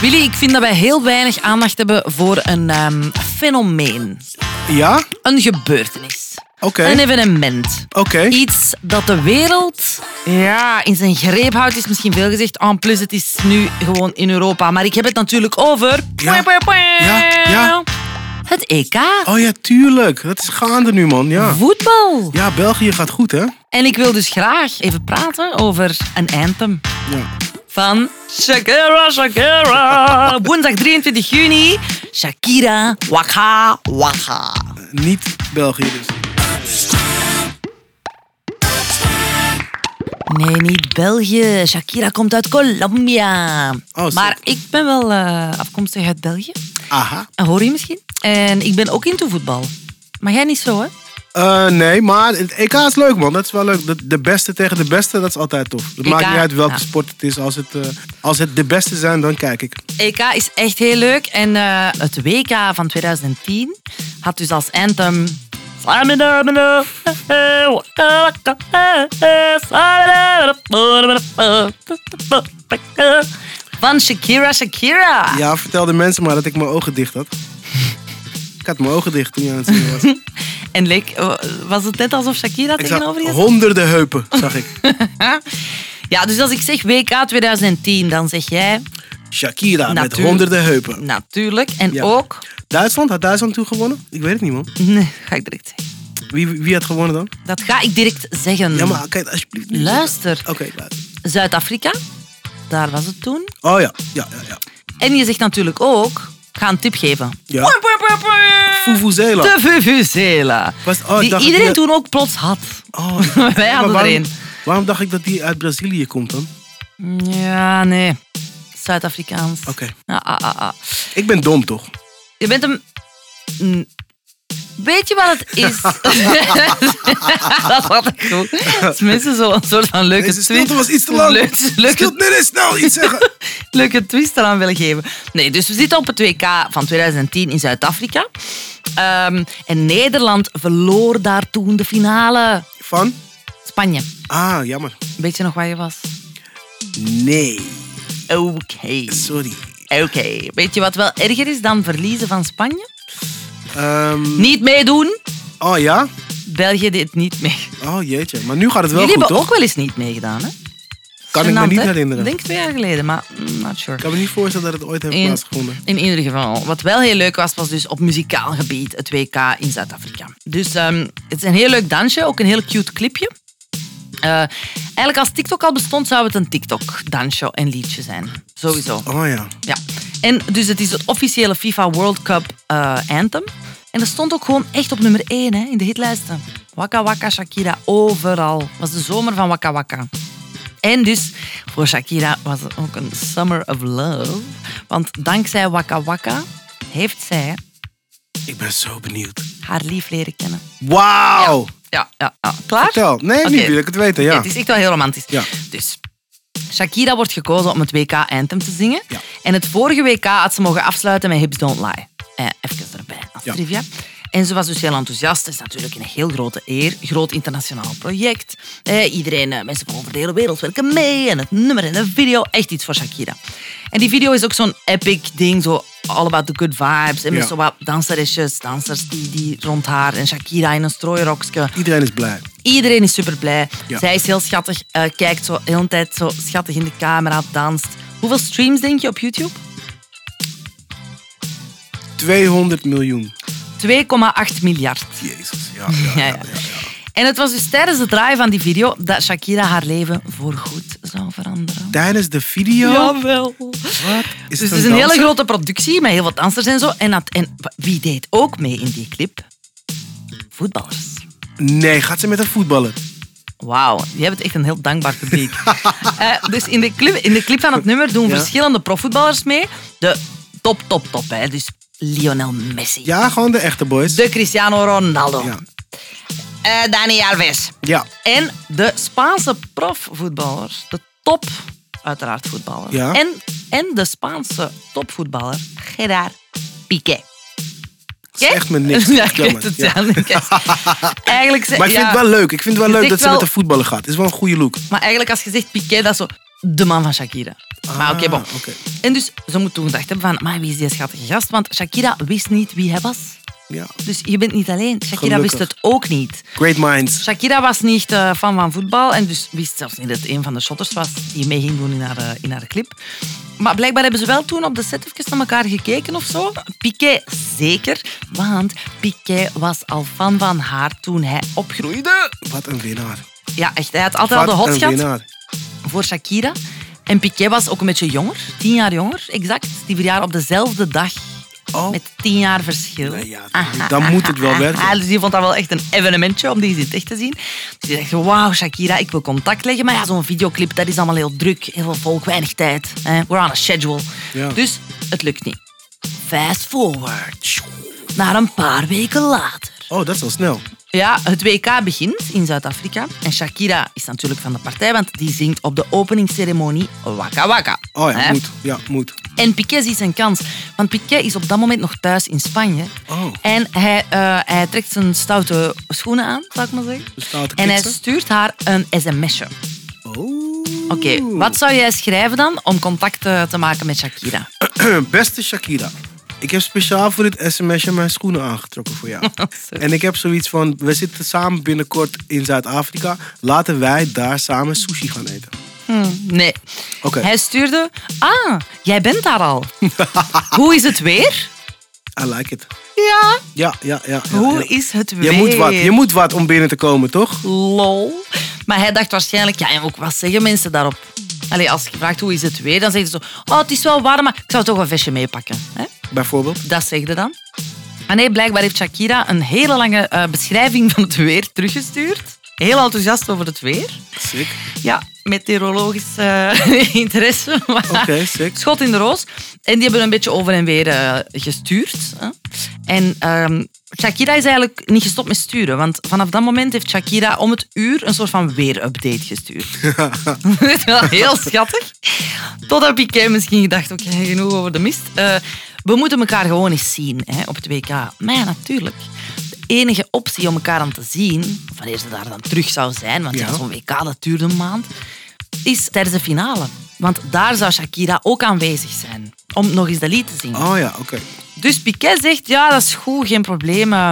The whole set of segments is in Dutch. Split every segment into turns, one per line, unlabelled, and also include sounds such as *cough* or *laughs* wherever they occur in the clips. Willy, ik vind dat wij heel weinig aandacht hebben voor een ehm, fenomeen.
Ja?
Een gebeurtenis.
Oké.
Een evenement.
Oké.
Iets dat de wereld ja, in zijn greep houdt, is misschien veel gezegd. En plus, het is nu gewoon in Europa. Maar ik heb het natuurlijk over...
Ja. Ja, ja.
Het EK.
Oh ja, tuurlijk. Dat is gaande nu, man. Ja.
Voetbal.
Ja, België gaat goed, hè?
En ik wil dus graag even praten over een anthem.
Ja.
van Shakira, Shakira. Woensdag 23 juni, Shakira, waka, waka.
Niet België dus.
Nee, niet België. Shakira komt uit Colombia.
Oh,
maar
shit.
ik ben wel eh, afkomstig uit België.
Aha.
Hoor je misschien? En ik ben ook into voetbal. Maar jij niet zo, hè?
Eh, nee, maar het EK is leuk, man. Dat is wel leuk. De, de beste tegen de beste, dat is altijd tof. Het
EK,
maakt niet uit welke
ja.
sport het is. Als het, eh, als het de beste zijn, dan kijk ik.
EK E is echt heel leuk. En eh, het WK van 2010 had dus als anthem... eh, Van Shakira, Shakira.
Ja, vertel de mensen maar dat ik mijn ogen
*laughs*
dicht had. Ik had mijn ogen dicht toen je aan het zingen was.
En leek, was het net alsof Shakira
Ik
tegenover je
zag
zat?
honderden heupen, zag
*laughs*
ik.
Ja, dus als ik zeg WK 2010, dan zeg jij
Shakira met
Natuurlijk.
Ah, honderden heupen.
natuurlijk. En
Ja.
ook... *laughs*
Duitsland? Had Duitsland toen gewonnen? Ik weet het niet, man.
Nee, ga ik direct zeggen.
Wie, wie had gewonnen dan?
Dat ga ik direct zeggen.
Ja, maar kijk, alsjeblieft. niet.
Luister.
Oké, ik luister.
Zuid-Afrika, daar was het toen.
Oh ja, ja, ja. ja.
En je zegt natuurlijk ook, ik ga een tip geven.
ja. Vuvuzela.
De Vuvuzela.
Was- oh, ik
die
dacht dat
iedereen
die-
toen ook plots had. *laughs*
Oh, ik dacht-
Wij
Ja, maar
hadden er
waarom-
één.
Waarom dacht ik dat die uit Brazilië komt dan?
Ja, nee. Zuid-Afrikaans.
Oké.
Ah, ah, ah, ah.
Ik ben dom, toch?
Je bent hem... Mm. Weet je wat het
*laughs*
is? *laughs* dat was ik goed. Dat is mensen zo'n soort van leuke
Deze
twist.
stilte was iets te lang.
Leuke, leuke,
Stilte, nee, nee, snel nou iets
*laughs*
zeggen.
leuke twist eraan willen geven. Nee, dus we zitten op het WK van 2010 in Zuid-Afrika. Ehm, en Nederland verloor daar toen de finale.
Van?
Spanje.
Ah, jammer.
Weet je nog waar je was?
Nee.
Oké.
Sorry.
Oké. Weet je wat wel erger is dan verliezen van Spanje?
Ehm,
Niet meedoen.
oh ja?
België deed niet mee.
Oh jeetje. Maar nu gaat het wel
Jullie
goed,
hebben
toch?
ook wel eens niet meegedaan, hè?
Kan ik me
Gênant,
niet
hè?
herinneren.
Ik denk twee jaar geleden, maar mm, not sure.
Ik kan me niet voorstellen dat het ooit heeft
In-
plaatsgevonden.
In ieder geval, wat wel heel leuk was, was dus op muzikaal gebied het WK in Zuid-Afrika. Dus ehm, het is een heel leuk dansje, ook een heel cute clipje. Eh, eigenlijk als TikTok al bestond, zou het een TikTok-dansje en liedje zijn. Sowieso.
Oh ja.
Ja. En dus het is het officiële FIFA World Cup eh, anthem. En dat stond ook gewoon echt op nummer 1 hè, in de hitlijsten. Waka Waka Shakira, overal. Het was de zomer van Waka Waka. En dus voor Shakira was het ook een summer of love. Want dankzij Waka Waka heeft zij
Ik ben zo benieuwd.
haar lief leren kennen.
Wauw.
Ja, ja, ja. klaar?
Vertel. Nee,
Oké.
niet wil ik het weten, ja.
Het is echt wel heel romantisch.
Ja.
Dus Shakira wordt gekozen om het WK Anthem te zingen.
Ja.
En het vorige WK had ze mogen afsluiten met Hips Don't Lie. Eh, even erbij als
Ja.
trivia. En ze was dus heel enthousiast. Het is natuurlijk een heel grote eer. Groot internationaal project. Eh, iedereen, eh, mensen van over de hele wereld werken mee. En het nummer en de video. Echt iets voor Shakira. En die video is ook zo'n epic ding. Zo all about the good vibes. En met
Ja.
zo wat danseresjes, dansers die, die rond haar. En Shakira in een strooirokje.
Iedereen is blij.
Iedereen is super blij.
Ja.
Zij is heel schattig, eh, kijkt zo de hele tijd zo schattig in de camera, danst. Hoeveel streams denk je op YouTube?
200 miljoen.
2,8 miljard.
Jezus, ja.
*laughs* Ja,
ja,
ja. En het was dus tijdens het draaien van die video dat Shakira haar leven voorgoed zou veranderen.
Tijdens de video?
Jawel.
Wat?
Dus het is
het een
een
danser?
hele grote productie met heel wat dansers en zo. En, dat, en wie deed ook mee in die clip? Voetballers.
Nee, gaat ze met een voetballer?
Wauw, je hebt echt een heel dankbaar
*laughs*
publiek. Eh, dus in de, clip, in de clip van het nummer doen
Ja.
verschillende profvoetballers mee. De top, top, top. Hè. Dus Lionel Messi.
Ja, gewoon de echte boys.
De Cristiano Ronaldo.
Ja.
Eh, Dani Alves.
Ja.
En de Spaanse profvoetballer. De top, uiteraard, voetballer.
Ja.
En, en de Spaanse topvoetballer, Gerard Piqué.
is echt me
*laughs*
niks.
Ja, ik weet het,
Jammer, ja.
ja. ik weet het.
*laughs*
Eigenlijk, ze-
Maar ik vind
ja.
het wel leuk. Ik vind het wel
Het
leuk
is
dat ze
wel-
met een voetballer gaat. Het is wel een goede look.
Maar eigenlijk als je zegt Piqué, dat is zo... de man van Shakira. maar oké, bon.
Ah, oké.
En dus ze moet toen gedacht hebben van, maar wie is die schattige gast? Want Shakira wist niet wie hij was.
Ja.
Dus je bent niet alleen. Shakira
Gelukkig.
wist het ook niet.
Great minds.
Shakira was niet echt eh, fan van voetbal en dus wist zelfs niet dat het een van de shotters was die mee ging doen in haar, eh, in haar clip. Maar blijkbaar hebben ze wel toen op de set even naar elkaar gekeken of zo. Piqué zeker, want Piqué was al fan van haar toen hij opgroeide.
Wat een winnaar.
Ja, echt. Hij had altijd
Wat
al de hot
een
gehad
winnaar.
voor Shakira. En Piqué was ook een beetje jonger, tien jaar jonger, exact. Die verjaar op dezelfde dag.
Oh.
Met tien jaar verschil.
Nee, ja, dan- dan moet het wel werken.
Ah, dus die vond dat wel echt een evenementje om die eens in het echt te zien. Dus die dacht, wauw Shakira, ik wil contact leggen. Maar ja, zo'n videoclip, dat is allemaal heel druk. Heel veel volk, weinig tijd. Hè. We're on a schedule.
Ja.
Dus het lukt niet. Fast forward. Naar een paar weken later.
Oh, dat is al snel.
Ja, het WK begint in Zuid-Afrika. En Shakira is natuurlijk van de partij, want die zingt op de openingsceremonie Waka Waka.
Oh ja,
Hè?
moet. Ja, moet.
En Piqué ziet zijn kans, want Piqué is op dat moment nog thuis in Spanje.
Oh.
En hij, eh, hij trekt zijn stoute schoenen aan, zou ik maar zeggen.
De stoute
en hij
kiksen.
stuurt haar een sms'je.
Oh.
Oké, wat zou jij schrijven dan om contact eh, te maken met Shakira?
*clears throat* Beste Shakira, ik heb speciaal voor dit sms'je mijn schoenen aangetrokken voor
*laughs*
jou. en ik heb zoiets van, we zitten samen binnenkort in Zuid-Afrika. Laten wij daar samen sushi gaan eten.
Nee.
Hmm. Oké.
Hij stuurde... Ah, jij bent daar al. Hoe is het weer?
I like it.
Ja.
*laughs* Ja, ja, ja. ja,
Hoe
ja.
is het weer?
Je moet wat, je moet wat om binnen te komen, toch?
lol. Maar hij dacht waarschijnlijk, ja, en ook wat zeggen mensen daarop? Allee, als je vraagt hoe is het weer, dan zeggen ze zo, oh, het is wel warm, maar ik zou toch een vestje meepakken. hè?
Bijvoorbeeld.
Dat zeg je dan. Maar nee, blijkbaar heeft Shakira een hele lange eh, beschrijving van het weer teruggestuurd. Heel enthousiast over het weer.
Sick.
Ja, meteorologisch eh, *laughs* interesse. maar *laughs*
Oké, sick.
Schot in de roos. En die hebben een beetje over en weer eh, gestuurd. Hè. En ehm, Shakira is eigenlijk niet gestopt met sturen. Want vanaf dat moment heeft Shakira om het uur een soort van weer-update gestuurd.
*laughs*
*laughs* Dat is wel heel schattig. Totdat Piqué misschien gedacht, oké, genoeg over de mist. Eh, we moeten elkaar gewoon eens zien hè, op het WK. Maar ja, natuurlijk. De enige optie om elkaar dan te zien, of wanneer ze daar dan terug zou zijn, want ja,
Ja.
zo'n WK dat duurde een maand, is tijdens de finale. Want daar zou Shakira ook aanwezig zijn, om nog eens dat lied te zingen.
Oh ja, oké.
Dus Piqué zegt, ja, dat is goed, geen probleem. Eh,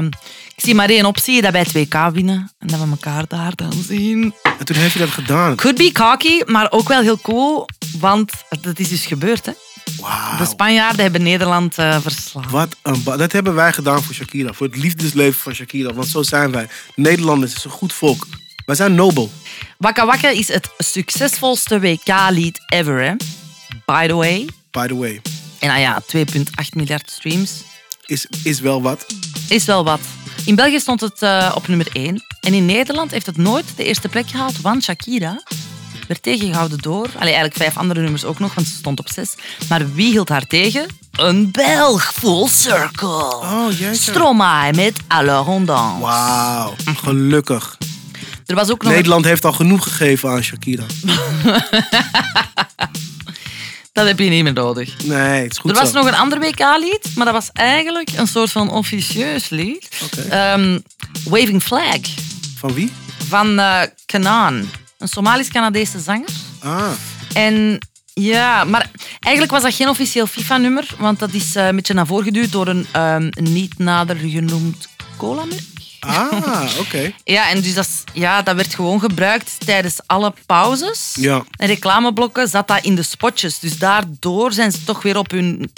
Ik zie maar één optie, dat wij het WK winnen. En dat we elkaar daar dan zien.
En toen heb je dat gedaan.
Could be cocky, maar ook wel heel cool, want dat is dus gebeurd. Hè? De
Wauw.
Spanjaarden hebben Nederland eh, verslagen.
Wat een ba- dat hebben wij gedaan voor Shakira. Voor het liefdesleven van Shakira. Want zo zijn wij. Nederlanders is een goed volk. Wij zijn nobel.
Wakka Wakka is het succesvolste WK-lied ever, hè? by the way.
By the way.
En nou ja, 2,8 miljard streams
Is, is wel wat.
is wel wat. In België stond het eh, op nummer 1. En in Nederland heeft het nooit de eerste plek gehaald, want Shakira werd tegengehouden door... Allee, eigenlijk vijf andere nummers ook nog, want ze stond op zes. Maar wie hield haar tegen? Een Belg, full circle.
Oh, jeetje.
Stromae met Alors on danse.
Wauw, gelukkig.
Er was ook nog... een-
Nederland heeft al genoeg gegeven aan Shakira.
Dat heb je niet meer nodig.
Nee, het is goed
er was
zo.
nog een ander WK-lied, maar dat was eigenlijk een soort van officieus lied.
Oké.
Ehm, Waving Flag
Van wie?
van eh Kanaan. Een Somalisch-Canadese zanger.
Ah,
En ja, maar eigenlijk was dat geen officieel FIFA-nummer, want dat is eh, een beetje naar voren geduwd door een ehm, niet nader genoemd cola-merk.
ah *laughs* oké.
Ja, en dus dat, is- ja, dat werd gewoon gebruikt tijdens alle pauzes.
Ja.
En reclameblokken zat dat in de spotjes. Dus daardoor zijn ze toch weer op hun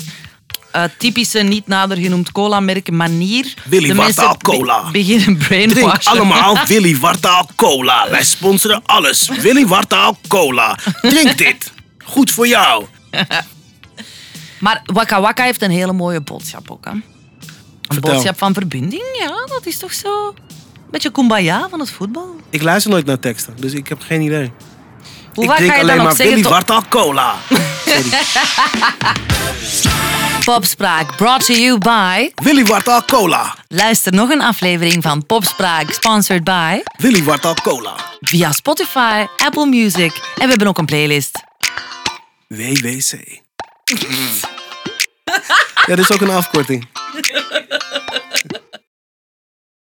eh, typische, niet nader genoemd cola-merken manier.
Willy
de mensen
Wartaal cola.
be- beginnen brainwashen.
Drink
*laughs*
allemaal Willy Wartaal Cola. Wij sponsoren alles. Willy Wartaal Cola. Drink dit. Goed voor jou.
Maar Waka Waka heeft een hele mooie boodschap ook. Hè? Een
Vertel.
boodschap van verbinding, ja, dat is toch zo. Een beetje kumbaya van het voetbal.
Ik luister nooit naar teksten, dus ik heb geen idee.
Hoe
ik
vaak
drink
ga je
alleen
dan ook
maar
zeggen
Willy
tot-
Wartaal Cola. Sorry.
Popspraak, brought to you by...
Willy Wartaal Cola.
Luister nog een aflevering van Popspraak, sponsored by...
Willy Wartaal Cola.
via Spotify, Apple Music en we hebben ook een playlist. *laughs*
WWC. ja, dit is ook een afkorting.